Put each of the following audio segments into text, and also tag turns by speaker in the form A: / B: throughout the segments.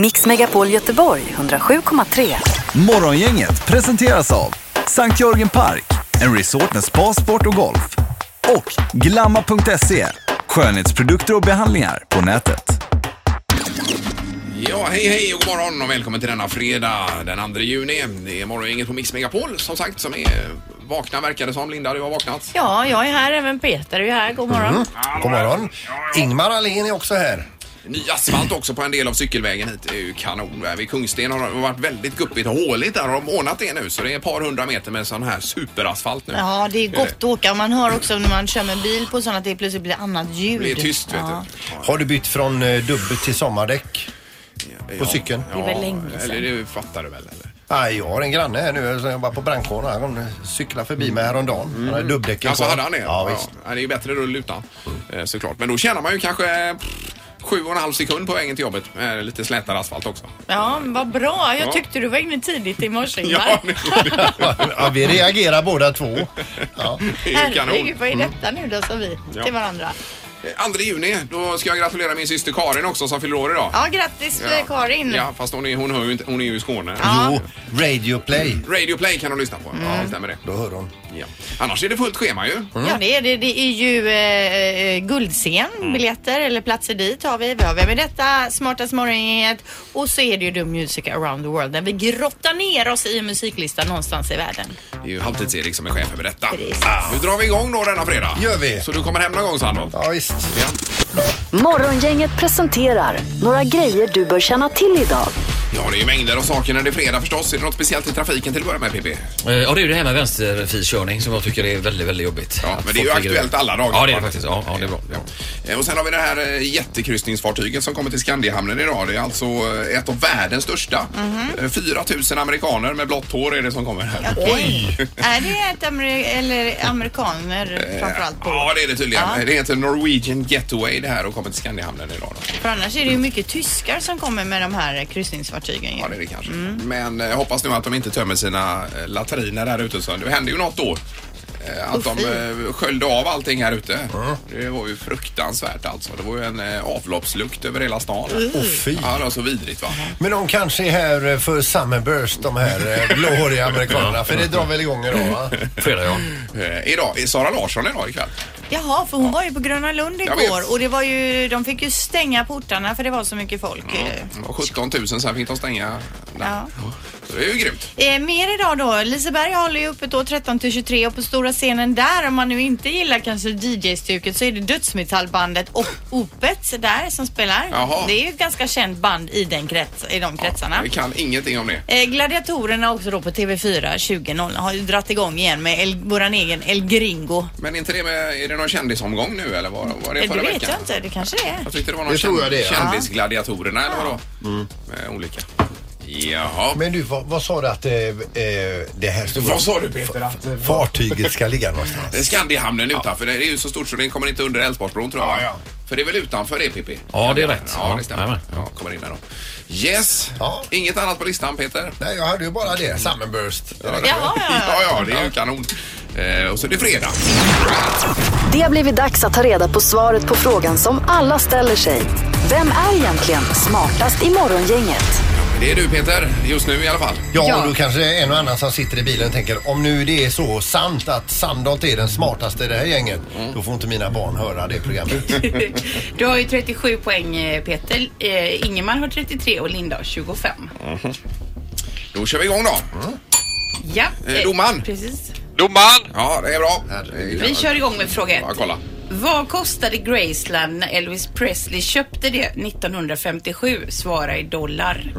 A: Mix Megapol Göteborg 107,3.
B: Morgongänget presenteras av Sankt Jörgen Park, en resort med spa, sport och golf. Och Glamma.se, skönhetsprodukter och behandlingar på nätet.
C: Ja, hej hej och god morgon och välkommen till denna fredag den 2 juni. Det är morgongänget på Mix Megapol som sagt som är vakna verkar det som. Linda, du har vaknat.
D: Ja, jag är här. Även Peter är ju här. God morgon.
A: Mm.
E: God morgon. Ingmar Ahlén är också här.
C: Ny asfalt också på en del av cykelvägen hit. Det är ju kanon. Där Vid Kungsten har det varit väldigt guppigt och håligt där. Har de ordnat det nu så det är ett par hundra meter med sån här superasfalt nu. Eh,
D: Ja, det är gott att åka. Man hör också när man kör med bil på sådana att det plötsligt blir annat ljud.
C: Det är tyst vet
D: Ja.
E: Har du bytt från eh, dubbel till sommardäck?
C: du.
E: På cykeln?
C: Ja,
D: Det är väl länge sedan.
C: Eller det fattar du väl? Eller?
E: Nej, jag har en granne här nu som jobbar på brandkåren. Han eh, cyklade förbi mig häromdagen. Han hade dubbdäcken
C: Alltså
E: kvar.
C: hade han det?
E: Ja, visst.
C: Ja, det är ju bättre rull utan eh, såklart. Men då tjänar man ju kanske pff, sju och en halv sekund på vägen till jobbet med lite slätare asfalt också.
D: Ja, men vad bra. Jag
C: Ja.
D: tyckte du var inne tidigt i morse,
C: Ja,
D: Ingmar.
C: nu,
E: Ja, vi reagerar båda två. Ja.
C: det är ju kanon. Mm.
D: Herregud, vad är detta nu då, sa vi till varandra.
C: 2 juni, då ska jag gratulera min syster Karin också som fyller år idag.
D: Ja, grattis eh, Karin.
C: Ja, fast hon är, hon hör ju inte, hon är ju i Skåne.
E: Jo, Radio Play.
C: Radio Play kan hon lyssna på. Ja,
D: Mm.
C: det stämmer det.
E: Då hör hon.
C: Ja. Annars är det fullt schema ju.
D: Ja, det är det. Det är ju eh, eh, guldscen,
C: Mm.
D: biljetter eller platser dit har vi. Vi har Vem är detta? Smartast morgongänget och så är det ju då Music around the world där vi grottar ner oss i en musiklista någonstans i världen.
C: Det är ju Halvtids-Erik som är chef över detta.
D: Precis.
C: Ah, Nu drar vi igång då denna fredag.
E: Gör vi.
C: Så du kommer hem någon gång Sandholt?
E: Ja, visst.
C: Ja.
A: Morgongänget presenterar några grejer du bör känna till idag.
C: ja, det är ju mängder av saker när det är fredag förstås. Är det något speciellt i trafiken till att börja med PP?
F: Eh, Ja, det är ju det här med vänsterfilkörning som jag tycker är väldigt, väldigt jobbigt.
C: Ja,
F: Att
C: men det är ju
F: folk ligger-
C: aktuellt alla dagar.
F: Ja, det är det faktiskt. Ja, ja det är bra. Ja.
C: Eh, Och sen har vi det här eh, jättekryssningsfartyget som kommer till Skandiahamnen idag. Det är alltså eh, ett av världens största.
F: Mhm.
C: Eh, 4 000 amerikaner med blått hår är det som kommer här.
D: Okej. Är det ett amer- eller amerikaner framförallt på?
C: Eh, Ja, det är det tydligen.
D: Ja.
C: Det heter Norwegian Getaway det här och kommer till Skandiahamnen idag. Då.
D: För annars är det ju mycket tyskar som kommer med de här kryssningsfartygen. ju.
C: Ja, det är det kanske.
F: Mm.
C: Men eh, jag hoppas nu att de inte tömmer sina eh, latriner där ute. Så det hände ju något då. Eh, Att de eh, sköljde av allting här ute. Det var ju fruktansvärt alltså. Det var ju en eh, avloppslukt över hela stan.
E: Åh fy.
C: Ja, det var så vidrigt va.
E: Men de kanske är här eh, för Summerburst, de här eh, blåhåriga amerikanerna. För det drar väl igång idag, va?
F: Fredag, ja.
C: Eh, Idag, är Sara Larsson idag ikväll?
D: Jaha, för hon var ju på Gröna Lund
C: Jag vet.
D: igår och det var ju, de fick ju stänga portarna för det var så mycket folk. eh.
C: Det var 17 000 sen fick de stänga. den.
D: Ja.
C: Så det är ju grymt.
D: Eh, mer idag då. Liseberg håller ju öppet då 13 till 23 och på stora scenen där om man nu inte gillar kanske DJ-stuket så är det dödsmetallbandet och Opet där som spelar.
C: Jaha.
D: Det är ju ett ganska känt band i, den krets, i de kretsarna.
C: Vi kan ingenting om det.
D: Eh, Gladiatorerna också då på TV4 20.00 har ju dratt igång igen med El, våran egen El Gringo.
C: Men inte det med, är det någon kändisomgång nu eller vad var det
D: Eh,
C: förra
D: Det vet
C: veckan?
D: jag inte, det kanske det är.
C: Jag tyckte det var någon
E: Det tror jag
C: känd-
E: det är, ja. Mm.
C: kändisgladiatorerna eller vadå? Med olika. Jaha.
E: Men du, vad, vad sa du att eh, eh, det här stora
C: Vad sa du Eh. Peter? Att...
E: fartyget ska ligga någonstans?
C: Det är Skandiahamnen utanför. Det är ju så stort så den kommer inte under Älvsborgsbron tror jag.
E: Ja, ja.
C: För det är väl utanför det Pippi?
F: Ja, det är rätt.
C: Ja,
F: Ja,
C: det stämmer.
F: jajamän.
C: Ja, kommer in där då. Yes.
E: Ja.
C: Inget annat på listan Peter?
E: Nej, jag hade ju bara det. Summerburst.
C: Ja,
D: ja, ja.
C: ja, ja, det är ju kanon. Eh, och så är det fredag.
A: Det har blivit dags att ta reda på svaret på frågan som alla ställer sig. Vem är egentligen smartast i morgongänget?
C: Det är du Peter, just nu i alla fall.
E: Ja,
D: Ja.
E: och då kanske det är en och annan som sitter i bilen och tänker om nu det är så sant att Sandholt är den smartaste i det här gänget,
D: Mm.
E: då får inte mina barn höra det programmet.
G: Du har ju 37 poäng eh, Peter. Eh, Ingemar har 33 och Linda har 25.
C: Då kör vi igång då.
G: Ja.
C: Eh, domaren.
G: Precis.
H: Domaren!
C: Ja, det är bra.
G: Vi kör igång med fråga
C: Ja,
G: ett.
C: kolla.
G: Vad kostade Graceland när Elvis Presley köpte det 1957? Svara i dollar.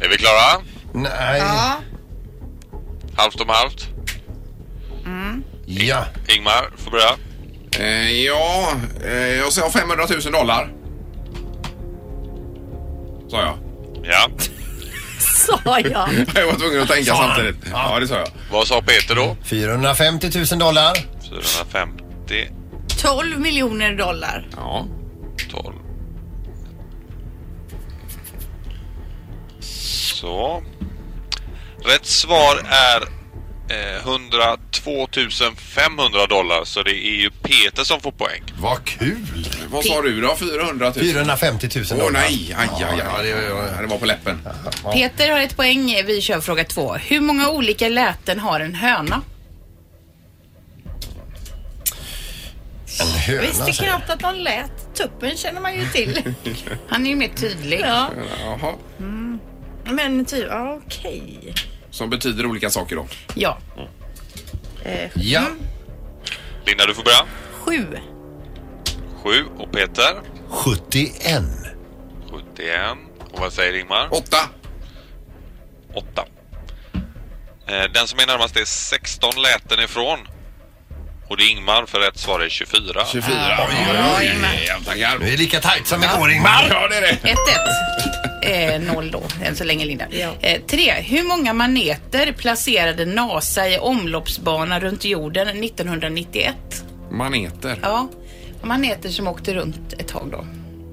H: Är vi klara?
E: Nej,
D: Ja,
H: Halvt om halvt.
E: ja.
H: Ingmar får börja.
C: Eh, ja, eh, jag sa 500 000 dollar. Sa jag.
H: Ja.
D: sa jag.
C: Jag var tvungen att tänka samtidigt. Ja, det sa jag.
H: Vad sa Peter då?
E: 450 000 dollar.
H: 450,
G: 12 miljoner dollar.
C: Ja.
H: 12. Så. Rätt svar är
I: eh, 102 500 dollar. Så det är ju Peter som får poäng.
E: Vad kul!
C: Vad sa du då? 400 000?
E: 450 000
C: Åh
E: dollar.
C: nej, aj, aj, aj,
E: Ja,
C: aj.
E: det var-
C: Det var på läppen.
G: Peter har ett poäng. Vi kör fråga två. Hur många olika läten har en höna?
E: En höna
H: Visste
E: säger jag.
H: knappt att de lät. Tuppen känner man ju till.
G: Han är ju mer tydlig.
H: Ja,
C: Jaha.
H: men typ, ja, okej.
C: Som betyder olika saker då.
G: Ja.
E: Ja,
I: Linda, du får börja.
H: Sju.
I: 7 och Peter
E: 71.
I: 71. Och vad säger Ingmar?
C: Åtta!
I: 8. Eh, Den som är närmast är 16 läten ifrån. Och det är Ingmar för rätt svar är 24.
C: 24. Oj, oj, oj. Jävla
E: Vi
C: garv.
E: är lika tajt som igår Ingmar.
C: Ja, det är det.
G: 1-1. Eh, noll då, än så länge Linda.
H: Ja.
G: Eh, tre. Hur många maneter placerade NASA i omloppsbanan runt jorden 1991?
C: Maneter.
G: Ja, maneter som åkte runt ett tag då.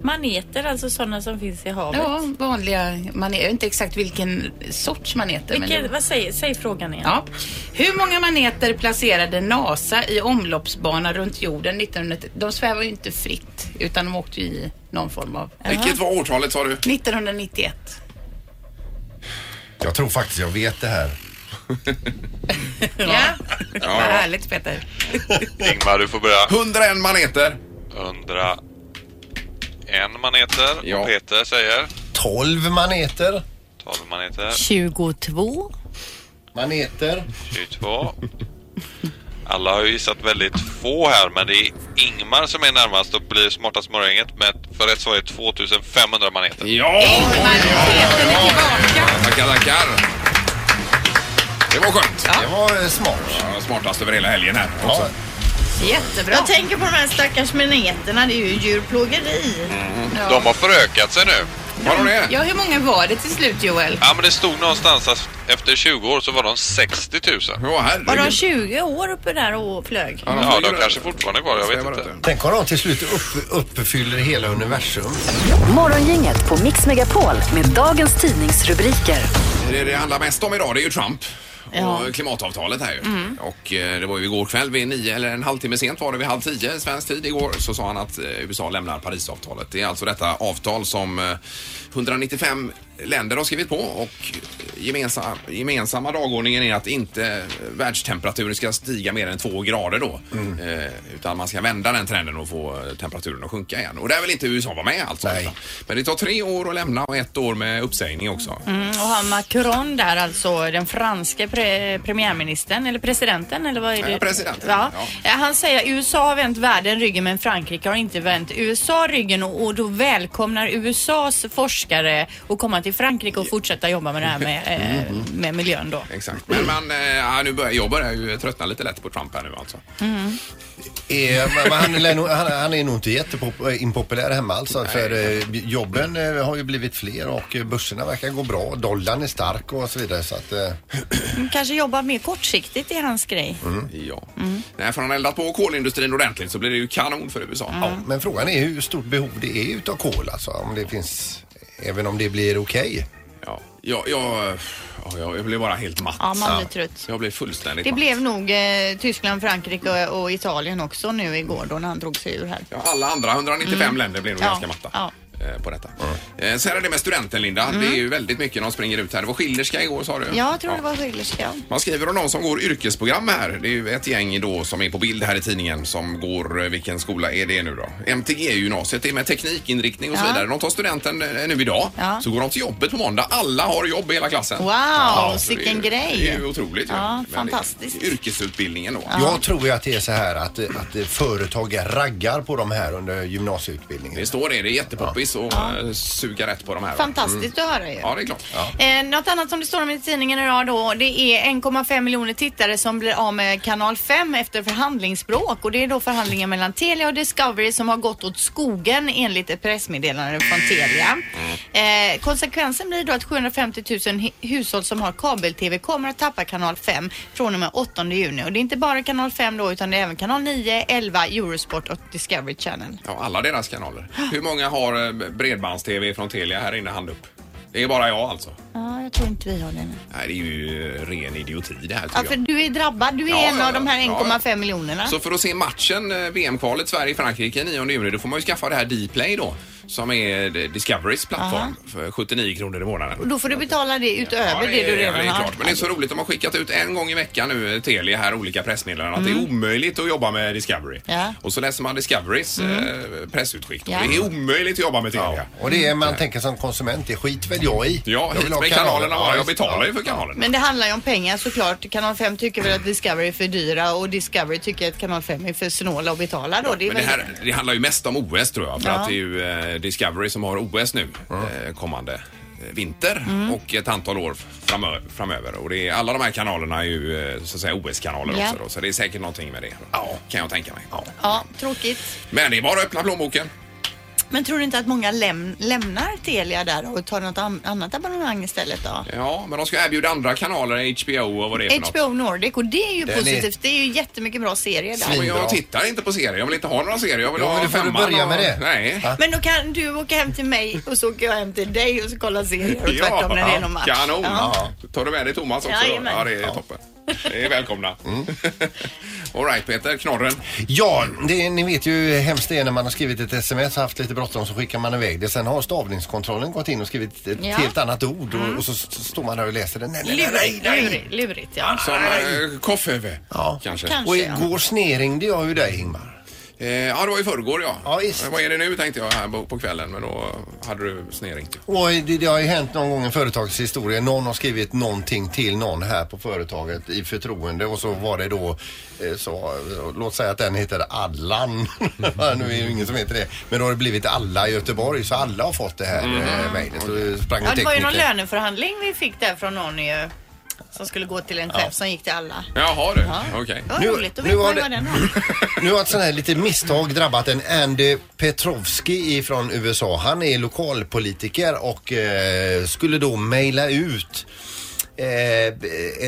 D: Maneter, alltså sådana som finns i havet.
G: Ja, vanliga maneter. Jag vet inte exakt vilken sorts maneter. men
D: Vilket,
G: det-
D: vad säger, säg frågan igen.
G: Ja. Hur många maneter placerade NASA i omloppsbana runt jorden 1991? De svävar ju inte fritt utan de åkte ju i någon form av...
C: Vilket var årtalet sa du?
G: 1991.
E: Jag tror faktiskt jag vet det här.
G: Ja, vad härligt Peter.
I: Ingmar, du får börja.
C: 101 maneter.
I: 101 maneter.
C: Ja.
I: Och Peter säger
E: 12 maneter.
I: 12 maneter.
H: 22.
E: Maneter.
I: 22. Alla har ju gissat väldigt få här, men det är Ingmar som är närmast och blir smartast morgongänget med för rätt svar är 2500 maneter.
C: Ja!
G: Majoriteten är tillbaka.
C: Tackar, tackar. Det var skönt.
E: Det var eh, smart.
C: Ja, smartast över hela helgen här också.
E: Ja.
G: Jättebra.
H: Jag tänker på de här stackars maneterna, det är ju djurplågeri.
I: De har förökat sig nu.
C: Var de det?
G: Ja, hur många var det till slut Joel?
I: Ja, men det stod någonstans att efter 20 år så var de 60 000.
C: Ja,
H: Var de
C: herregud.
H: 20 år uppe där och flög?
I: Ja, de kanske fortfarande är kvar. Jag vet inte.
E: Tänk om de till slut upp, uppfyller hela universum.
A: Morgongänget på Mix Megapol med dagens tidningsrubriker.
C: Det det handlar mest om idag det är ju Trump.
H: Ja.
C: Och klimatavtalet här ju. Och eh, det var ju igår kväll vid nio, eller en halvtimme sent var det, vid halv tio svensk tid igår, så sa han att eh, USA lämnar Parisavtalet. Det är alltså detta avtal som eh, 195 länder har skrivit på och gemensamma, gemensamma dagordningen är att inte eh, världstemperaturen ska stiga mer än två grader då. Eh, utan man ska vända den trenden och få eh, temperaturen att sjunka igen. Och där vill inte USA vara med alltså.
E: Nej.
C: Men det tar tre år att lämna och ett år med uppsägning också.
D: Mm, och har Macron där, alltså den franske pre- premiärministern, eller presidenten, eller vad är det?
C: Ja, presidenten,
D: Ja.
C: ja.
D: Eh, Han säger att USA har vänt världen ryggen men Frankrike har inte vänt USA ryggen och, och då välkomnar USAs forskare att komma till Frankrike och fortsätta jobba med det här med, eh, med miljön då.
C: Exakt. Men man, eh, ja, nu börjar, jag börjar ju tröttna lite lätt på Trump här nu alltså.
E: Eh, men- men han, lär nog- han, han är nog inte jätteimpopulär hemma alls. För eh, jobben eh, har ju blivit fler och eh, börserna verkar gå bra. Dollarn är stark och så vidare. Så att, eh,
D: Kanske jobba mer kortsiktigt i hans grej.
C: Ja.
H: Mm.
C: Nej, för han eldat på kolindustrin ordentligt så blir det ju kanon för USA.
E: ja,
H: Mm.
E: men frågan är hur stort behov det är utav kol alltså. Om det finns, även om det blir okej.
C: Ja. Ja, jag, ja, jag, jag blir bara helt matt.
D: Ja, man blir trött.
C: Jag blir fullständigt
H: Det
C: matt.
H: blev nog eh, Tyskland, Frankrike och, och Italien också nu igår då när han drog sig ur här.
C: Ja, alla andra 195 länder blir nog
H: Mm. Ja.
C: ganska matta.
H: Ja. Mm.
C: eh, På detta. Eh, Sen är det med studenten Linda. Det är ju väldigt mycket de springer ut här. Det var skilderska igår sa du.
H: Ja, jag tror det var skiljerska.
C: Man skriver om någon som går yrkesprogram här. Det är ju ett gäng då som är på bild här i tidningen som går, eh, vilken skola är det nu då? MTG-gymnasiet, det är med teknikinriktning och så
H: Ja.
C: vidare. De tar studenten eh, nu idag,
H: Ja.
C: så går de till jobbet på måndag. Alla har jobb i hela klassen.
H: Wow,
C: så det är
H: vilken
C: ju-
H: grej.
C: Det är ju otroligt. ju.
H: Ja,
C: Men det-
H: fantastiskt.
C: Yrkesutbildningen då.
E: Jag tror ju att det är så här att, eh, att eh, företag raggar på de här under gymnasieutbildningen.
C: Det står det, det är jättepoppis och eh, suga rätt på de här. va?
H: Fantastiskt att höra ju.
C: Mm. Ja, det är klart.
D: Eh, något annat som det står om i tidningen idag då, det är 1,5 miljoner tittare som blir av med kanal 5 efter förhandlingsbråk och det är då förhandlingen mellan Telia och Discovery som har gått åt skogen enligt ett pressmeddelande från Telia. Eh, konsekvensen blir då att 750 000 hu- hushåll som har kabel-TV kommer att tappa kanal 5 från och med 8 juni och det är inte bara kanal 5 då utan det är även kanal 9, 11, Eurosport och Discovery Channel.
C: Ja, alla deras kanaler. Hur många har eh, bredbands-tv från Telia här inne? Hand upp. Det är bara jag alltså.
D: Ja, jag tror inte vi har det. nej.
C: Nej, det är ju eh, ren idioti det här tycker
D: Ja, för
C: jag.
D: du är drabbad. Du är
C: Ja,
D: en
C: ja,
D: av de här
C: ja, ja.
D: 1,5 miljonerna.
C: Så för att se matchen, eh, VM-kvalet Sverige-Frankrike 9 juni, då får man ju skaffa det här Dplay då. Som är eh, Discoverys plattform för 79 kronor i månaden.
D: Och Då får du betala det utöver det, du
C: ja, det
D: redan
C: är
D: har.
C: klart. Men det är så roligt. De har skickat ut en gång i veckan nu, eh, Telia här, olika pressmeddelanden att det är omöjligt att jobba med Discovery.
D: Mm. Ja. Mm.
C: Och så läser man Discoverys eh, pressutskick. då.
D: Ja.
C: Det är omöjligt att jobba med Telia. Ja.
E: Och det är man tänker som konsument, det skiter väl jag i.
C: Ja,
E: jag
C: hit med kanalerna bara. Jag betalar ju för kanalerna.
D: Men det handlar ju om pengar såklart. Kanal 5 tycker väl att Discovery är för dyra och Discovery tycker att Kanal 5 är för snåla att betala då. Det är
C: Men det,
D: väl...
C: här, det handlar ju mest om OS tror jag. För
D: Ja.
C: att det är ju eh, Discovery som har OS nu eh, kommande eh, vinter
D: Mm.
C: och ett antal år framö- framöver. Och det är, alla de här kanalerna är ju eh, så att säga OS-kanaler
D: Ja.
C: också då, så det är säkert någonting med det. Ja, kan jag tänka mig.
D: Ja, tråkigt.
C: Men det är bara att öppna plånboken.
D: Men tror du inte att många läm- lämnar Telia där och tar något an- annat abonnemang istället då?
C: Ja, men de ska erbjuda andra kanaler, HBO och vad det är för något.
D: HBO Nordic och det är ju
E: Den är-
D: positivt. Det är ju jättemycket bra serier där.
E: Svin-
C: Men jag
E: Bra.
C: tittar inte på serier. Jag vill inte ha några serier. Jag vill
E: Ja,
C: ha
E: men då får du
C: femman
E: börja
C: och...
E: med det.
C: Nej.
E: Ja.
D: Men då kan du åka hem till mig och så åker jag hem till dig och så kollar serier och
C: Ja,
D: tvärtom när det är någon match.
C: Kanon!
D: Ja.
C: Tar du med dig Thomas också? då?
D: Jajamän.
C: Ja, det är toppen. Det är välkomna.
E: Mm.
C: All right Peter, knorren.
E: Ja, det, ni vet ju hur hemskt det är när man har skrivit ett sms och haft lite bråttom så skickar man iväg det. Sen har stavningskontrollen gått in och skrivit ett
D: Ja. Mm.
E: helt annat ord och, och så s- står man där och läser det. Nej, nej, nej, nej,
D: Lurigt,
E: nej.
D: lurigt, lurigt ja.
C: Som eh, Kofföve,
E: Ja.
C: kanske.
D: Kanske.
E: Och igår snedringde jag ju dig Ingmar.
C: Eh, ja, det var i förrgår ja.
E: Ja, visst.
C: Vad är det nu tänkte jag här på, på kvällen, men då hade du snedringt.
E: Och det, det har ju hänt någon gång i företagets historia. Någon har skrivit någonting till någon här på företaget i förtroende och så var det då eh, så, eh, låt säga att den heter Allan. nu är det ju ingen som heter det. Men då har det blivit alla i Göteborg så alla har fått det här mm. mejlet. Så det sprang en
D: Ja, det var ju någon
E: tekniker.
D: löneförhandling vi fick där från någon ju. Som skulle gå till en chef som gick till alla.
C: Jaha du,
D: Ja.
C: okej.
D: Det var
E: Nu-
D: roligt, då
E: nu
D: vet
E: har
D: man ju
E: det-
D: vad den har.
E: Nu har ett sånt här litet misstag drabbat en Andy Petrovski från USA. Han är lokalpolitiker och eh, skulle då mejla ut eh,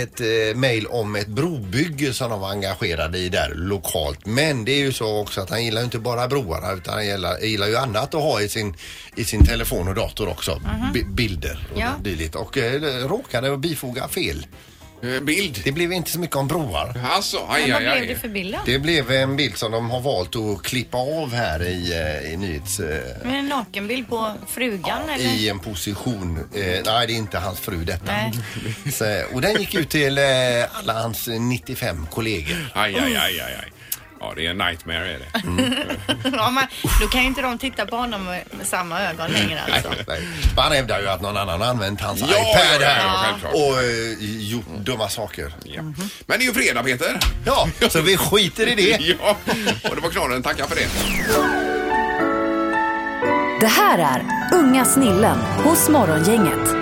E: ett eh, mejl om ett brobygge som de var engagerade i där lokalt. Men det är ju så också att han gillar ju inte bara broarna utan han gillar, gillar ju annat att ha i sin, i sin telefon och dator också. Bi- bilder och
D: Ja.
E: dylikt. Och eh, råkade bifoga fel.
C: Eh, Bild.
E: Det blev inte så mycket om broar.
C: Alltså, aj,
H: Vad
C: aj,
H: blev det
C: aj.
H: för bild då?
E: Det blev en bild som de har valt att klippa av här i, eh, i nyhets... eh,
D: Med en nakenbild på frugan eller?
E: I en position. Eh, nej, det är inte hans fru detta.
D: Nej.
E: Så, och den gick ut till eh, alla hans 95 kollegor.
C: Aj, aj, aj, aj, aj. Ja, det är en nightmare är det.
D: Mm. Ja, men, då kan ju inte de titta på honom med, med samma ögon längre alltså.
E: Nej. Han hävdar ju att någon annan har använt hans
C: Ja, ja,
E: iPad
C: ja,
E: här
C: ja, självklart.
E: och eh, gjort dumma saker.
C: Ja. Men det är ju fredag Peter.
E: Ja, så vi skiter i det.
C: Ja, och det var knorren. Tackar för det.
A: Det här är Unga snillen hos Morgongänget.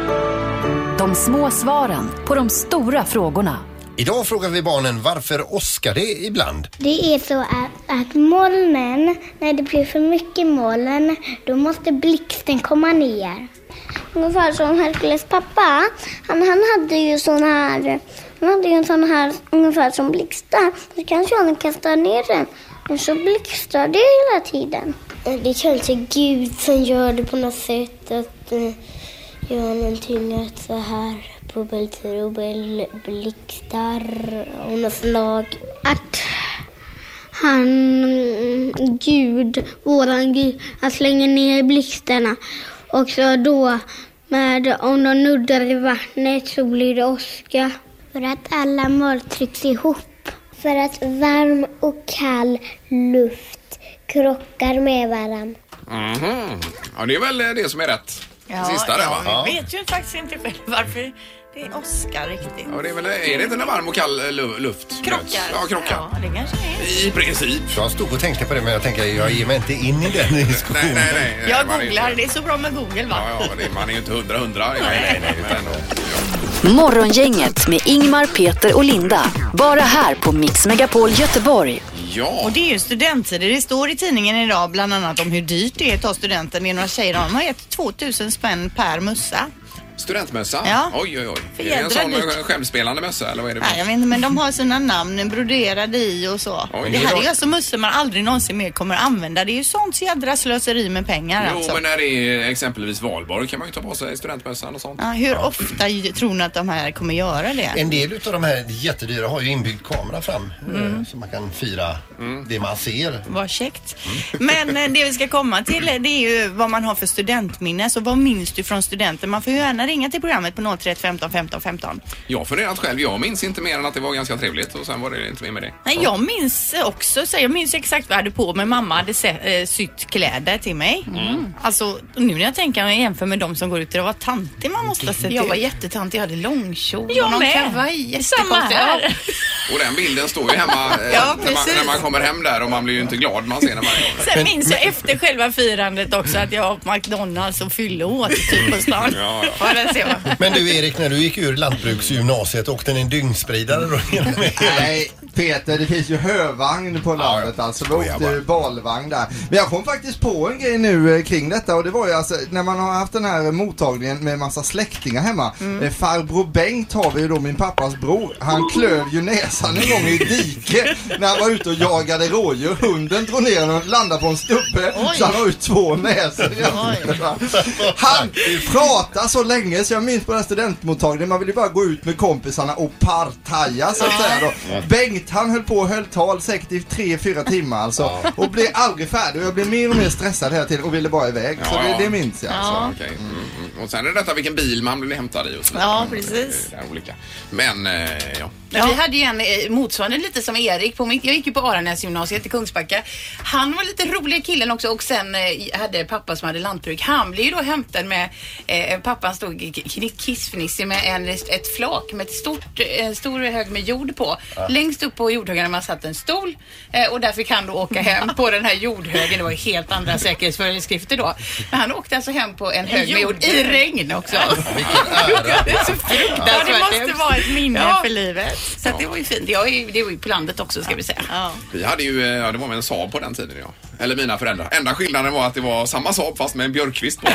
A: De små svaren på de stora frågorna.
E: Idag frågar vi barnen varför åskar det ibland?
J: Det är så att, att molnen, när det blir för mycket moln, då måste blixten komma ner. Ungefär som Herkules pappa, han, han hade ju sån här, han hade ju en sån här ungefär som blixtar. Så kanske han kastar ner den, men så blixtrar det hela tiden. Det kanske Gud som gör det på något sätt, att eh, göra någonting att så här bubbeltro, blixtar och något slag. Att han, mm, Gud, våran Gud, han slänger ner blixtarna. Och så då, med, om de nuddar i vattnet så blir det åska. För att alla mål trycks ihop. För att varm och kall luft krockar med varandra.
C: Mhm. Ja, det är väl eh, Mm. det som är rätt.
D: Ja,
C: Sista där va?
D: ja, vi vet ju faktiskt inte själv varför det är åska riktigt.
C: Ja, det är, väl, är det inte när varm och kall eh, lu- luft möts?
D: Krockar.
C: Ja, krockar.
D: Ja, det kanske är.
C: I princip.
E: Jag stod och tänkte på det men jag tänker jag ger mig inte in i den diskussionen.
C: Nej, nej, nej.
D: Jag
C: Man är
D: googlar,
C: Inte,
D: det är så bra med Google va?
C: ja, ja, det, man är ju inte hundra hundra. Nej, nej, nej. Men,
A: Morgongänget med Ingmar, Peter och Linda. Bara här på Mix Megapol Göteborg.
C: ja,
D: Och det är ju studenttider. Det står i tidningen idag bland annat om hur dyrt det är att ta studenten. Det är några tjejer, de har gett 2000 spänn per mussa.
C: Studentmössa?
D: Ja.
C: Oj, oj, oj.
D: För
C: är det en
D: jädra
C: sån
D: dyrt.
C: eh, självspelande mössa eller vad är det?
D: Nej, jag vet inte, men de har sina namn broderade i och så.
C: Oj.
D: det här är ju alltså mössor man aldrig någonsin mer kommer använda. Det är ju sånt jädra slöseri med pengar
C: jo,
D: alltså.
C: men när det är exempelvis valborg kan man ju ta på sig studentmössan och sånt.
D: Ja, hur ofta ju- tror ni att de här kommer göra det?
E: En del utav de här jättedyra har ju inbyggd kamera fram eh, så man kan fira det man ser.
D: Vad käckt. Men eh, det vi ska komma till eh, det är ju vad man har för studentminne. Så vad minns du från studenten? Man får ju gärna ringa till programmet på 031 15 15 15.
C: Jag har funderat själv. Jag minns inte mer än att det var ganska trevligt och sen var det inte mer med det.
D: Nej, jag minns också, så jag minns exakt vad jag hade på mig. Mamma hade se, eh, sytt kläder till mig.
G: Mm.
D: Alltså nu när jag tänker och jämför med de som går ut, det var tantig man måste ha sett
G: Mm. Jag var
D: ut.
G: jättetantig, jag hade långkjol
D: Jag
G: och någon
D: med.
G: kavaj.
D: Samma
G: Jättekonstigt.
D: här.
C: Och den bilden står ju hemma eh,
D: Ja,
C: när, man,
D: precis.
C: när man kommer hem där och man blir ju inte glad man ser den varje gång.
D: Sen minns jag efter själva firandet också att jag var på McDonalds och fyllde åt typ på stan.
C: Ja, ja.
D: Ja, där ser man.
E: Men du Erik, när du gick ur lantbruksgymnasiet åkte ni en dyngspridare då? genom hela-
K: Nej, eh, Peter, det finns ju hövagn på landet alltså. Vi åkte ju balvagn där. Men jag kom faktiskt på en grej nu eh, kring detta och det var ju alltså när man har haft den här mottagningen med massa släktingar hemma. Eh, farbror Bengt har vi ju då, min pappas bror. Han klöv ju näsan en gång i ett dike när han var ute och jagade rådjur. Hunden drog ner honom och landade på en stubbe så han har ju två näsor. i ansiktet, va? Han pratade så länge så jag minns på den här studentmottagningen, man ville ju bara gå ut med kompisarna och partaja så att säga då. Bengt han höll på och höll tal säkert i 3-4 timmar alltså och blev aldrig färdig och jag blev mer och mer stressad hela tiden och ville bara iväg. Så
C: Ja, ja.
K: det, det minns jag alltså.
C: Okej. Mm. mm. Och sen är det detta vilken bil man blir hämtad i och så vidare.
D: Ja,
C: Mm,
D: precis.
C: Det är olika. Men, eh, ja.
G: Men Vi hade ju en eh, motsvarande lite som Erik. På mitt, jag gick ju på Aranäsgymnasiet i Kungsbacka. Han var lite rolig killen också och sen eh, hade pappa som hade lantbruk. Han blev ju då hämtad med, eh, pappan stod k- k- kissfnissig med en, ett flak med ett stort, eh, en stor hög med jord på. Längst upp på jordhögen hade man satt en stol eh, och där fick han då åka hem på den här jordhögen. Det var ju helt andra säkerhetsföreskrifter då. Men han åkte alltså hem på en hög med jord i regn också. Det är så fruktansvärt
D: Ja, det måste
G: hemskt.
D: vara ett minne
G: Ja.
D: för livet.
G: Så att det var ju fint. Jag är, ju- det var ju på landet också ska vi säga.
D: Ja.
C: Vi hade ju, eh, ja det var med en Saab på den tiden ja. Eller mina föräldrar. Enda skillnaden var att det var samma Saab fast med en björkkvist på.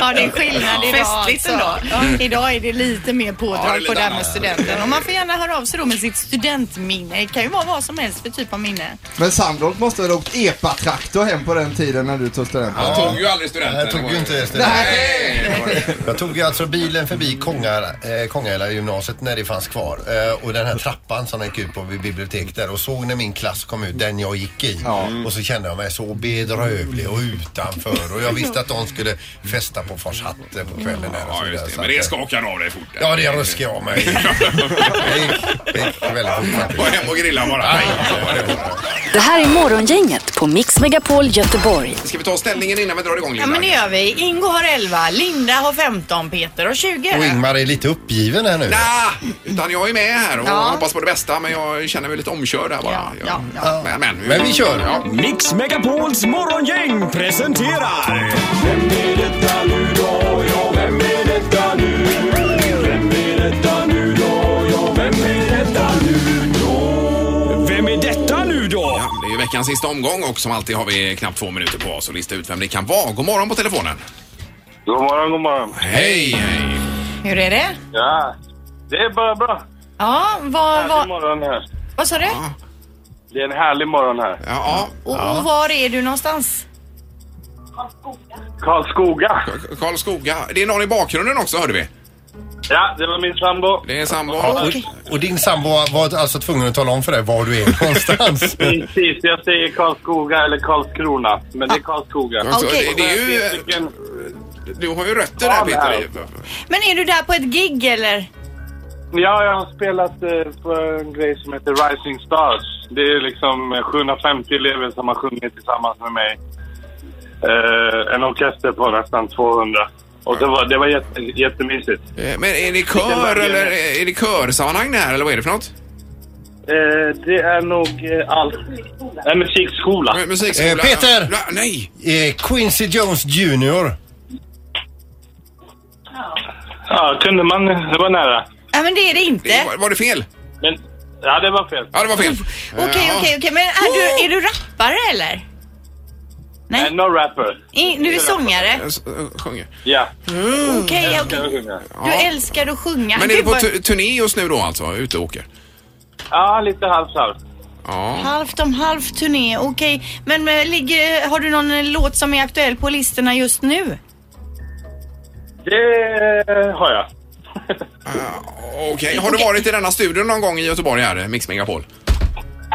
D: Ja, det är skillnad idag. alltså.
G: Festligt ändå.
D: Ja, idag är det lite mer pådrag
C: Ja, det är lite
D: på det här med
C: annat.
D: studenten. Och man får gärna höra av sig då med sitt studentminne. Det kan ju vara vad som helst för typ av minne.
K: Men Sandholt måste väl ha åkt epatraktor hem på den tiden när du tog studenten?
C: Han tog ju aldrig studenten.
E: Jag tog ju inte det.
C: Nej! det var det.
E: Jag tog ju alltså bilen förbi Kångar- eh, Kångahälla gymnasiet när det fanns kvar eh, och den här trappan som jag gick ut på vid biblioteket där och såg när min klass kom ut, den jag gick i. Och så kände jag mig så bedrövlig och utanför och jag visste att de skulle festa på Fars hatt eh, på kvällen där och
C: Ja,
E: så vidare.
C: just det.
E: Så
C: Men
E: att,
C: det
E: eh,
C: skakade av dig fort.
E: Ja, det ruskar jag av mig. Det gick, det gick väldigt fort
C: Var
E: faktiskt.
C: hem och grilla bara. Nej.
A: Det här är Morgongänget på Mix Megapol Göteborg.
C: Ska vi ta ställningen innan vi drar igång
D: Ja, men det gör vi. Ingo har 11, Linda har 15, Peter har 20.
E: Och Ingmar är lite uppgiven här nu.
C: Nja, utan jag är med här och
D: Ja.
C: hoppas på det bästa men jag känner mig lite omkörd här bara.
D: Ja, ja, ja.
C: Men, men,
E: Men vi kör.
C: Ja.
L: Mix Megapols morgongäng presenterar... Vem är detta nu då?
C: Det är ju veckans sista omgång och som alltid har vi knappt två minuter på oss att lista ut vem det kan vara. God morgon på telefonen.
I: God morgon, god morgon.
C: Hej, hej.
D: Hur är det?
I: Ja, det är bara bra.
D: Ja, vad, vad,
I: morgon här.
D: vad sa du?
I: Det är en härlig morgon här.
C: Ja,
D: Och, och var är du någonstans?
I: Karlskoga.
C: ja. Karlskoga. Det är någon i bakgrunden också hörde vi.
I: Ja, det var min sambo.
C: Det är sambo.
E: Och, och din sambo var alltså tvungen att tala om för dig var du är någonstans.
I: Precis, jag säger Karlskoga eller Karlskrona, men det är Karlskoga.
C: Alltså,
D: Okej.
C: det, det är ju,
I: Vilken-
C: du har ju rötter
I: Ja,
C: där
I: det
C: Peter.
I: här.
D: Men är du där på ett gig eller?
I: Ja, jag har spelat eh, på en grej som heter Rising Stars. Det är liksom eh, 750 elever som har sjungit tillsammans med mig. Eh, en orkester på nästan 200. Och det var, det var jätte, jättemysigt.
C: Eh, Men är det kör
I: Vilken
C: eller
I: värld
C: är det körsammanhang det här eller vad är det för något?
I: Eh, det är nog eh, allt. En musikskola.
C: Eh, Musikskola?
E: Eh, Peter!
C: Ja, Nej!
E: Eh, Quincy Jones Jr.
I: Ja, kunde man. Det var nära.
D: Nej, men det är det
C: Det,
D: inte.
C: var, var det fel?
I: Men, ja, det var fel.
C: Ja, det var fel.
D: Okej, okej, okej. Men är du, är du rappare eller?
I: Nej. Eh, no rapper.
D: I, du är sångare.
C: eh, Sjunger.
I: Ja.
D: Mm, Okej,
I: Älskar att
D: okej.
I: sjunga.
D: Du älskar att sjunga.
C: Men är du
D: Gud,
C: på
D: vad-
C: tu- turné just nu då alltså? Ute och åker?
I: Ja, lite halvt halvt.
C: Ja.
D: Halvt om halvt turné, okej. Men eh, ligger, har du någon eh, låt som är aktuell på listorna just nu?
I: Det har jag.
C: Okej, har du varit i denna studion någon gång i Göteborg här, eh, Mix Megapol?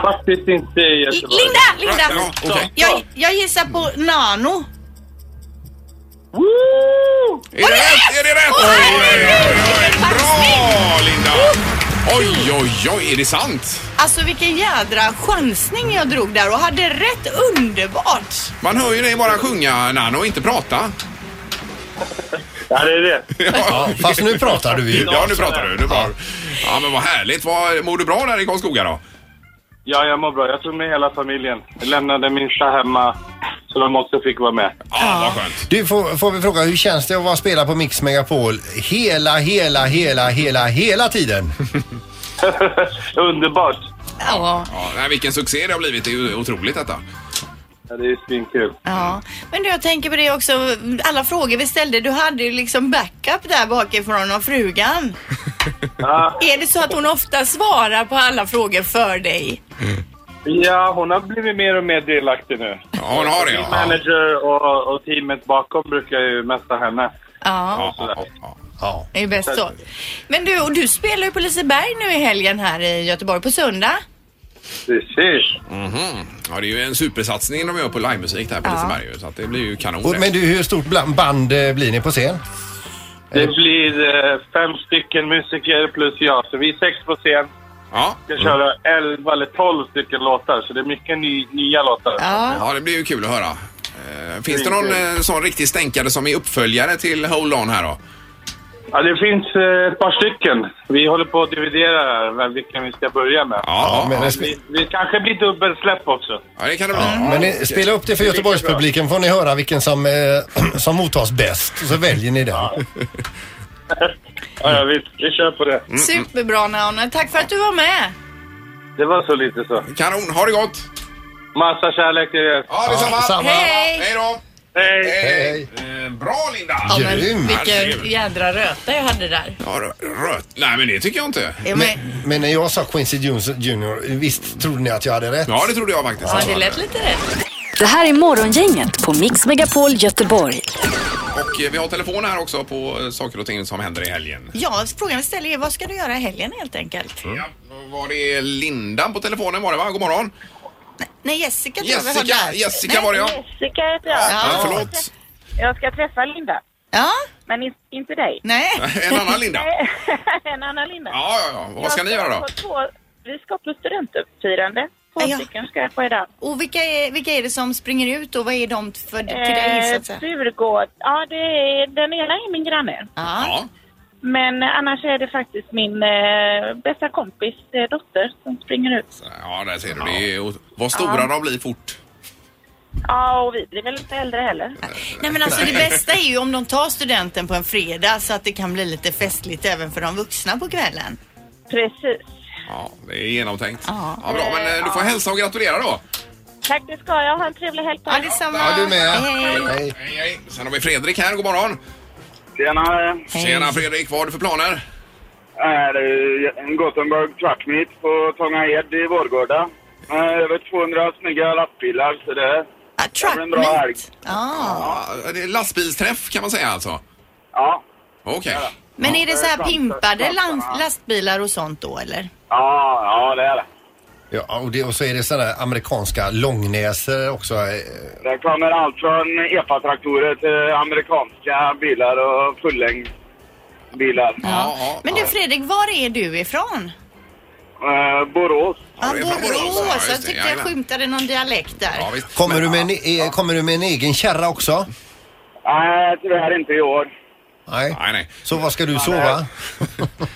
I: Faktiskt inte i Göteborg.
D: Linda, Linda!
C: Ja, okej.
D: Jag, jag gissar på Nano.
C: Är det rätt? Är det rätt? Oj, oj, oj, oj. Bra Linda! Oj, oj, oj, är det sant?
D: Alltså vilken jädra chansning jag drog där och hade rätt underbart.
C: Man hör ju dig bara sjunga Nano och inte prata.
I: Ja, det är det.
E: Ja, fast nu pratar du ju.
C: Ja, nu pratar du. Nu bara... Ja, men vad härligt. Vad, mår du bra där i Karlskoga då?
I: Ja, jag mår bra. Jag tog med hela familjen. Jag lämnade minsta hemma, så de också fick vara med.
C: Ja, vad skönt.
E: Du, får, får vi fråga, hur känns det att vara spelare på Mix Megapol hela, hela, hela, hela, hela tiden?
I: Underbart!
D: Ja.
C: Ja, nej, vilken succé det har blivit. Det är ju otroligt detta.
I: Ja, det är svinkul.
D: Ja, men du jag tänker på det också, alla frågor vi ställde, du hade ju liksom backup där bakifrån av frugan.
I: Ja,
D: Är det så att hon ofta svarar på alla frågor för dig?
I: ja, hon har blivit mer och mer delaktig nu.
C: Ja, hon har det.
I: Min
C: Ja.
I: manager och, och teamet bakom brukar ju mesta henne.
D: Ja,
C: Ja, ja, ja.
E: Ja.
D: det är bäst så. Men du, och du spelar ju på Liseberg nu i helgen här i Göteborg på söndag.
I: Precis.
C: Mhm. ja, det är ju en supersatsning de gör på livemusik där på Liseberg ju, så att det blir ju kanon.
E: Och,
C: det.
E: men du, hur stort bla- band eh, blir ni på scen?
I: Det blir eh, fem stycken musiker plus jag, så vi är sex på scen.
C: Ja.
I: Vi ska köra elva eller tolv stycken låtar, så det är mycket ny, nya låtar.
D: Ja.
C: ja, det blir ju kul att höra. Eh, Finns det någon eh, sån riktig stänkare som är uppföljare till Hold On här då?
I: Ja, det finns eh, ett par stycken. Vi håller på att dividera här, vem- vilken vi ska börja med.
C: Ja,
E: men,
C: ja,
E: sp-
I: Vi, vi kanske blir dubbelsläpp också.
C: ja det kan det bli.
E: men ni, spela upp det för Göteborgspubliken får ni höra vilken som, eh, som mottas bäst. Och så väljer ni den.
I: Ja, ja vi, vi kör på det.
C: Mm.
D: Superbra Naone, tack för att du var med.
I: Det var så lite så.
C: Kanon, ha det gott!
I: Massa kärlek till er.
C: Ja, detsamma!
E: Ja, detsamma.
D: Hej.
C: Hej då!
I: Hej!
C: Hej. Eh, Bra Linda!
E: Ja, men- Grym.
D: Vilken
C: Herregud.
D: jädra röta jag hade där.
C: Ja, rö- rött. Nej, men det tycker jag inte.
D: Ja, men,
E: Men när jag sa Quincy Jones Jr, visst trodde ni att jag hade rätt?
C: Ja, det trodde jag faktiskt.
D: ja, det lät lite rätt.
A: Det här är Morgongänget på Mix Megapol Göteborg.
C: Och eh, vi har telefon här också på eh, saker och ting som händer i helgen.
D: Ja, frågan vi ställer är vad ska du göra i helgen helt enkelt?
C: Ja, då var det Linda på telefonen var det va? God morgon.
D: Nej, Jessica tror jag vi har
C: Jessica,
D: där.
C: Jessica
D: Nej.
C: var det ja.
M: Jessica heter jag.
C: ja Eh, förlåt.
M: Jag ska träffa Linda,
D: Ja,
M: men in, inte dig.
D: nej.
C: En annan Linda.
M: en annan Linda.
C: Ja, ja, ja. Vad ska
M: Jag
C: ni göra då?
M: på Två, vi ska på studentfirande. Två
D: Ja.
M: stycken ska jag på idag.
D: Och vilka är, vilka är det som springer ut och vad är de för, till dig så
M: Eh,
D: att säga?
M: Djurgård. Ja, det är, den ena är min granne.
D: Ja.
C: Ja.
M: Men annars är det faktiskt min eh, bästa kompis eh, dotter som springer ut.
C: Ja, där ser du. Det är, vad stora de blir fort.
M: Ja, och vi blir väl inte äldre heller.
D: Nej men alltså det bästa är ju om de tar studenten på en fredag så att det kan bli lite festligt även för de vuxna på kvällen.
M: Precis.
C: Ja, det är genomtänkt.
D: Ja.
C: Ja, bra. Men eh, du får hälsa och gratulera då.
M: Tack, det ska jag. Ha en trevlig helg på
D: Ja,
M: er.
D: detsamma.
E: Ja, du med.
D: Hej.
E: Hej.
C: Hej, hej. Sen har vi Fredrik här. God morgon.
I: Tjena!
D: Hej.
C: Tjena Fredrik. Vad har du för planer?
I: Är en Gothenburg Truck Meet på Tångahed i Vårgårda. Över 200 snygga lastbilar, så det...
D: Ja,
I: Ja, men bra helg.
D: Truckmeet. Ja.
C: Ja, det är lastbilsträff kan man säga alltså.
I: Ja.
C: Okej.
D: Men är det så här
I: Framför-
D: pimpade
I: framförarna.
D: lan- lastbilar och sånt då eller?
I: Ja, ja, det är det.
E: Ja, och, det, och så är det sådana amerikanska långnäser också. eh,
I: Det kommer allt från EPA-traktorer till amerikanska bilar och fullängdsbilar.
C: Ja, ja,
D: Men du Fredrik, var är du ifrån?
I: Eh, Borås.
D: Ja,
C: det är från Borås. Ja,
D: Borås.
C: just
D: Jag
C: det.
D: tyckte jag
C: Jajamän.
D: skymtade någon dialekt
C: Ja,
D: där.
C: visst.
E: Kommer
C: Men-
E: du, med en, eh, kommer du med en egen kärra också?
I: Nej, tyvärr inte i år.
E: Nej.
C: Nej, nej.
E: Så vad ska du sova?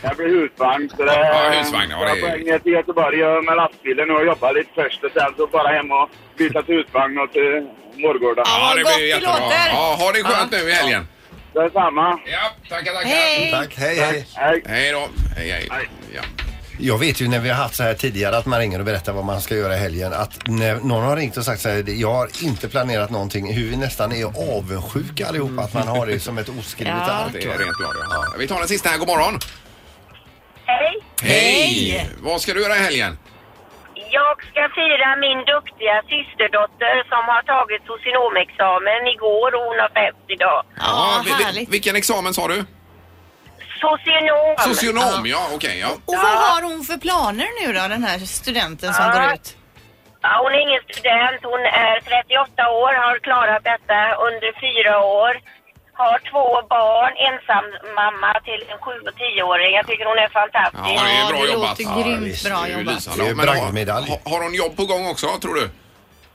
I: Jag blir husvagn. Så det,
C: Ja, husvagn, ja, det är-
I: Jag får ner till Göteborg med lastbilen och jobba lite först och sen så bara hem och byta till husvagn och till Vårgårda.
C: Ja, det
D: Gott
C: blir
D: det
C: jättebra.
D: låter.
C: Ja, ha det skönt nu i helgen.
I: Detsamma.
C: Ja, tackar, tackar.
D: Hej!
E: Tack, hej, hej.
I: Hej.
C: Hej då. Hej, hej.
I: Hej.
C: Ja.
E: Jag vet ju när vi har haft så här tidigare att man ringer och berättar vad man ska göra i helgen. Att när någon har ringt och sagt så här, jag har inte planerat någonting. Hur vi nästan är avundsjuka allihopa att man har det som ett oskrivet
C: Ja.
E: ark.
C: Det är rent blad, ja. Vi tar den sista här, god morgon.
N: Hej!
C: Hej! Vad ska du göra i helgen?
N: Jag ska fira min duktiga systerdotter som har tagit socionomexamen igår och hon har 50 idag.
C: Ja, vi- vi- vilken examen sa du?
N: Socionom!
C: Socionom, ja okej. ja.
D: Och vad har hon för planer nu då, den här studenten som
N: Ja.
D: går ut?
N: Ja, hon är ingen student, hon är 38 år, har klarat detta under fyra år. Har två barn, ensam mamma till en 7 och 10-åring. Jag tycker hon är fantastisk.
C: Ja, det är bra jobbat.
N: bra
C: Det är ju
N: jobbat.
C: lysande. Men har, har- har hon jobb på gång också, tror du?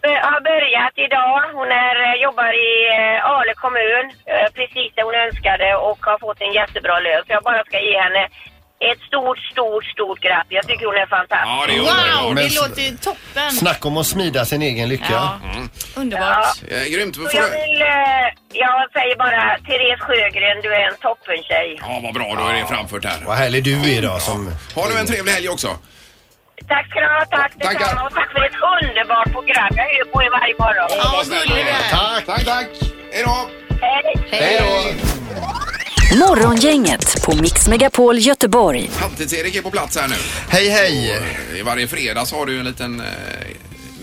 N: Be- har börjat idag. Hon är, jobbar i eh, Ale kommun, eh, precis det hon önskade och har fått en jättebra lön. Så jag bara ska ge henne ett stort, stort, stort grattis. Jag tycker hon är
C: Ja,
N: fantastisk.
C: det
D: Wow,
E: Men
D: det
E: s-
D: låter ju toppen!
E: Snacka om att smida sin egen lycka.
D: Underbart.
C: Ja. Eh, grymt.
N: Så jag, vill, eh, jag säger bara, Therese Sjögren, du är en toppentjej.
C: Ja, vad bra. Då är det framfört här.
E: Vad härlig du är idag som...
C: Har du en trevlig helg också?
N: Tack ska du ha, tack detsamma och tack för ett underbart program. Jag hör på er varje morgon.
C: Ja, vad snäll du är. Tack, tack, tack. Hej då.
N: Hej
C: då.
A: Morgongänget på Mix Megapol Göteborg.
C: Halvtids-Erik är på plats här nu.
E: Hej, hej.
C: I varje fredag så har du en liten eh,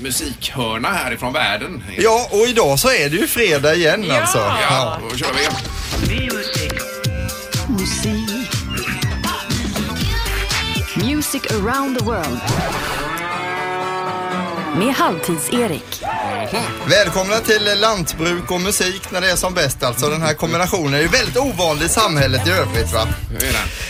C: musikhörna härifrån världen.
K: Ja, och idag så är det ju fredag igen alltså.
C: Ja, då kör vi.
A: Musik. Music around the world. Med Halvtids-Erik.
K: Välkomna till lantbruk och musik när det är som bäst alltså. Den här kombinationen är ju väldigt ovanlig i samhället i övrigt va.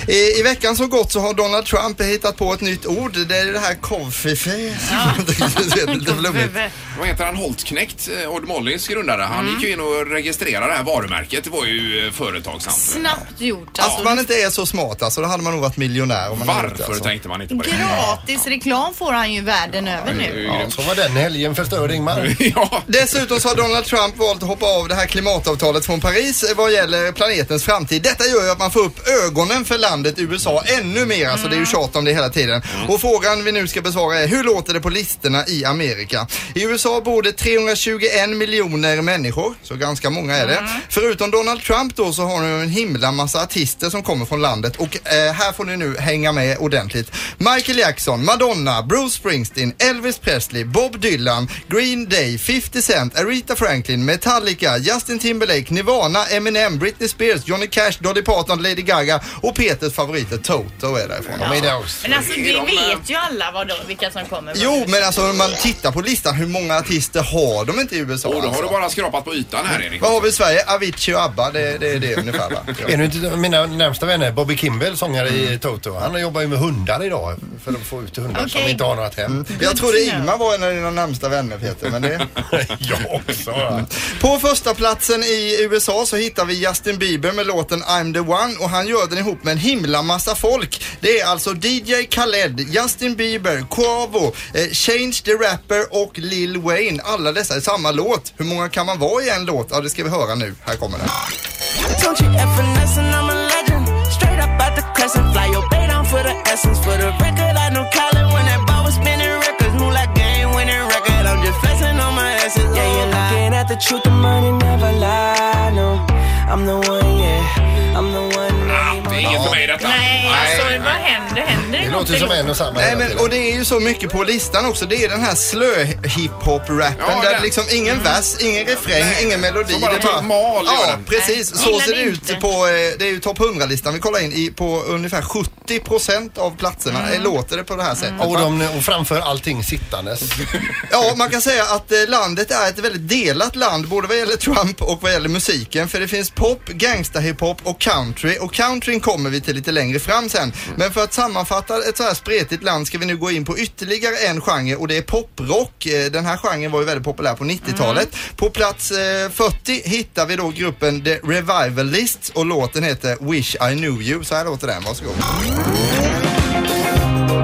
K: I, I veckan som gått så har Donald Trump hittat på ett nytt ord. Det är ju det här koffife. det är lite flummigt.
C: Vad heter han? Holtknekt, eh, Odd Mollys grundare. Han gick ju in och registrerade det här varumärket. Det var ju eh, företagsamt.
D: Snabbt gjort
K: Att
D: alltså.
K: man inte är så smart alltså, då hade man nog varit miljonär. Om man hade gjort det,
C: Varför
K: alltså.
C: tänkte man inte på det?
D: Gratis reklam får han ju världen över nu.
E: Ja, så var den helgen förstörd Ingmar.
K: Dessutom så har Donald Trump valt att hoppa av det här klimatavtalet från Paris eh, vad gäller planetens framtid. Detta gör ju att man får upp ögonen för landet USA ännu mer. Alltså det är ju tjat om det hela tiden. Och frågan vi nu ska besvara är hur låter det på listorna i Amerika? I USA bor det 321 miljoner människor, så ganska många är det. Förutom Donald Trump då så har nu en himla massa artister som kommer från landet och eh, här får ni nu hänga med ordentligt. Michael Jackson, Madonna, Bruce Springsteen, Elvis Presley, Bob Dylan, Green Day, 50 Cent, Aretha Franklin, Metallica, Justin Timberlake, Nirvana, Eminem, Britney Spears, Johnny Cash, Dolly Parton, Lady Gaga och Peters favoriter Toto är därifrån.
D: Men alltså det vet ju alla vad då, vilka som kommer.
K: Jo, men alltså om man tittar på listan, hur många artister har de inte i USA?
C: Och då har
K: alltså?
C: du bara skrapat på ytan här Erik.
K: Vad har vi i Sverige? Avicii och ABBA, det, det är det ungefär va?
E: En av mina närmsta vänner, Bobby Kimball, sångare
K: Mm.
E: i Toto, han jobbar ju med hundar idag för att få ut hundar som
K: Okej.
E: inte har något hem.
K: Jag trodde Ingmar var en av dina närmsta vänner Peter, men det...
E: jag också. va?
K: På första platsen i USA så hittar vi Justin Bieber med låten I'm the one och han gör den ihop med en himla massa folk. Det är alltså DJ Khaled, Justin Bieber, Quavo, eh, Change the Rapper och Lil Wayne. Alla dessa i samma låt. Hur många kan man vara i en låt? Ja, det ska vi höra nu. Här kommer den.
O: Don't you ever listen, I'm a legend. Straight up out the crescent, fly your bait down for the essence. For the record, I know Colin when that ball was spinning records. Move like game winning record, I'm just flexing on my essence. Yeah, you're looking at the truth, the money never lie. No, I'm the one, yeah. I'm the one.
C: Det är inget för mig detta.
D: Nej, alltså vad händer? Händer det någonting?
K: Nej, men, och det är ju så mycket på listan också. Det är den här slö hiphop-rappen
C: Ja,
K: där
C: den.
K: liksom ingen vers, ingen refräng, ingen melodi.
C: Som bara
K: det är
C: tog mal, gör
K: Ja,
C: den.
K: precis.
C: Nej,
K: Så
C: gillar
K: ser det
C: det
K: ut på, eh, det är ju topp 100-listan vi kollar in i, på ungefär 70 procent av platserna
C: Mm.
K: eh, låter det på det här sättet.
E: Och,
K: va?
E: de, och framför allting sittandes.
K: Ja, man kan säga att eh, landet är ett väldigt delat land både vad gäller Trump och vad gäller musiken. För det finns pop, gangsterhiphop och country. Och countryn kommer vi till lite längre fram sen. Men för att sammanfatta ett så här spretigt land ska vi nu gå in på ytterligare en genre och det är poprock. Eh, Den här genren var ju väldigt populär på 90-talet. På plats eh, 40 hittar vi då gruppen The Revivalists och låten heter Wish I Knew You. Så här låter den, varsågod.
O: I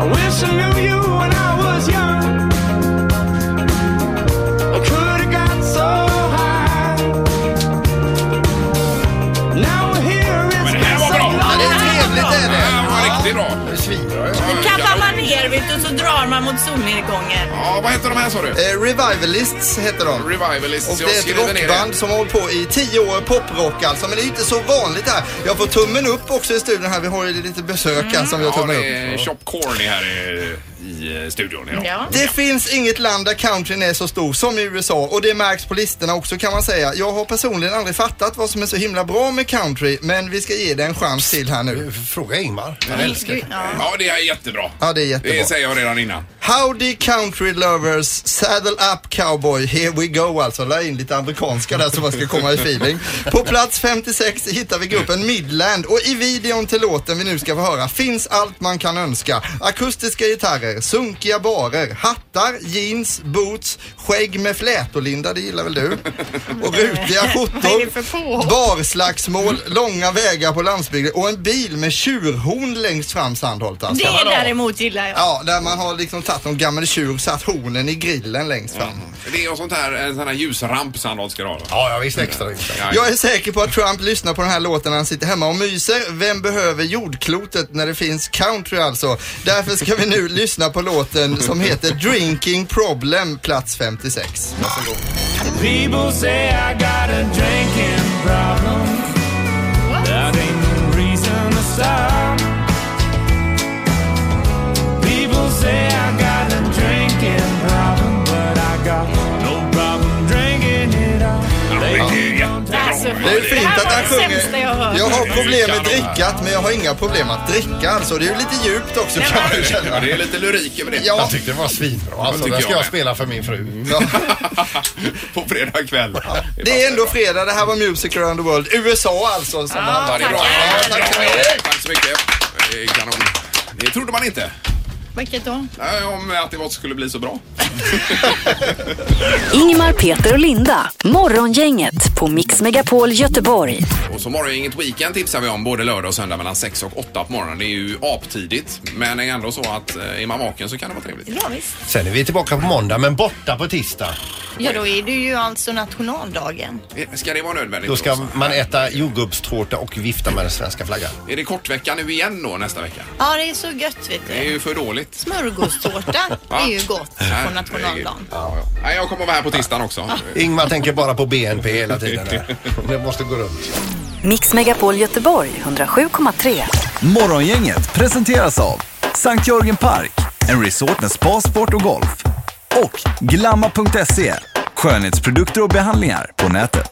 O: wish I knew you when I was young. I could have got so high. Now we're here, it's been so long.
C: Det här var riktigt bra.
E: Det svider
D: Kan man
H: ut och så drar man mot solnedgången.
C: Ja, vad heter de här sa du?
K: Eh, Revivalists heter de.
C: Revivalists,
K: Och
C: jag
K: det är ett
C: skriver ner
K: rockband
C: det.
K: som har hållit på i tio år, poprock alltså. Men det är ju inte så vanligt här. Jag får tummen upp också i studion här. Vi har ju lite besök här som vi har
C: Mm. Ja,
K: tummen
C: det är
K: upp.
C: Shop Corny här i, i eh, studion idag.
K: Det finns inget land där countryn är så stor som i USA och det märks på listorna också kan man säga. Jag har personligen aldrig fattat vad som är så himla bra med country men vi ska ge det en chans till här nu.
E: Fråga Ingmar.
C: Han älskar det. Ja, det är jättebra.
K: Ja, det är jättebra.
C: Det säger jag redan innan.
K: Howdy country lovers, saddle up cowboy, here we go alltså. La in lite amerikanska där så man ska komma i feeling. På plats 56 hittar vi gruppen Midland och i videon till låten vi nu ska få höra finns allt man kan önska. Akustiska gitarrer, sunkiga barer, hattar, jeans, boots, skägg med flätor Linda, det gillar väl du? Och rutiga
O: Vad är
K: skjortor.
O: det för påhopp?
K: Barslagsmål, långa vägar på landsbygden och en bil med tjurhorn längst fram Sandholt alltså.
D: Det däremot gillar jag.
K: Ja, där man har liksom tagit någon gammal tjur och satt hornen i grillen längst
C: Mm,
K: fram.
C: Det är en sån här, en sån här ljusramp Sandholt ska ha.
E: Ja, ja visst. Extra
K: Jag är säker på att Trump lyssnar på den här låten när han sitter hemma och myser. Vem behöver jordklotet när det finns country alltså? Därför ska vi nu lyssna på låten som heter Drinking Problem, plats 56. Varsågod.
O: People say I got a drinking problem. That ain't no reason to stop. People say I got a drinking problem, but I got no problem drinking it up. They
K: Ja.
O: do young
K: Det är fint att han sjunger. Jag har problem med drickat men jag har inga problem att dricka alltså. Det är ju lite djupt också kan man ju
C: Ja,
K: känna.
C: det är lite lurik över det.
K: Ja.
E: Jag tyckte det var svinbra. Alltså,
C: tycker
E: den ska
C: jag
E: jag
C: med.
E: spela för min fru.
C: På fredag kväll.
K: Det är ändå fredag, det här var Music around the world. USA alltså som handlar om.
C: Tack så mycket. Det är Kanon. Det trodde man inte.
D: Vilket då?
C: Nej, Om att det var- skulle bli så bra.
A: Ingmar, Peter och Linda. Morgongänget på Mix Megapol Göteborg.
C: Och så morgongänget Weekend tipsar vi om både lördag och söndag mellan 6 och 8 på morgonen. Det är ju aptidigt, men är ändå så att eh, är man vaken så kan det vara trevligt.
D: Ja, visst.
E: Sen är vi tillbaka på måndag, men borta på tisdag.
D: Ja, då är det ju alltså nationaldagen.
C: Eh, Ska det vara nödvändigt?
E: Då ska
C: också?
E: man äta jordgubbstårta och vifta med den svenska flaggan.
C: Är det kortvecka nu igen då nästa vecka?
D: Ja, det är så gött vet
C: Det är
D: du.
C: ju för dåligt.
D: Smörgåstårta är ju gott på
C: Herregud.
D: nationaldagen.
C: Ja, ja. Nej, jag kommer vara här på tisdagen också.
E: Ingmar tänker bara på BNP hela tiden. där. Det måste gå runt.
A: Mix Megapol Göteborg 107,3.
B: Morgongänget presenteras av Sankt Jörgen Park, en resort med spa, sport och golf. Och Glamma.se, E, skönhetsprodukter och behandlingar på nätet.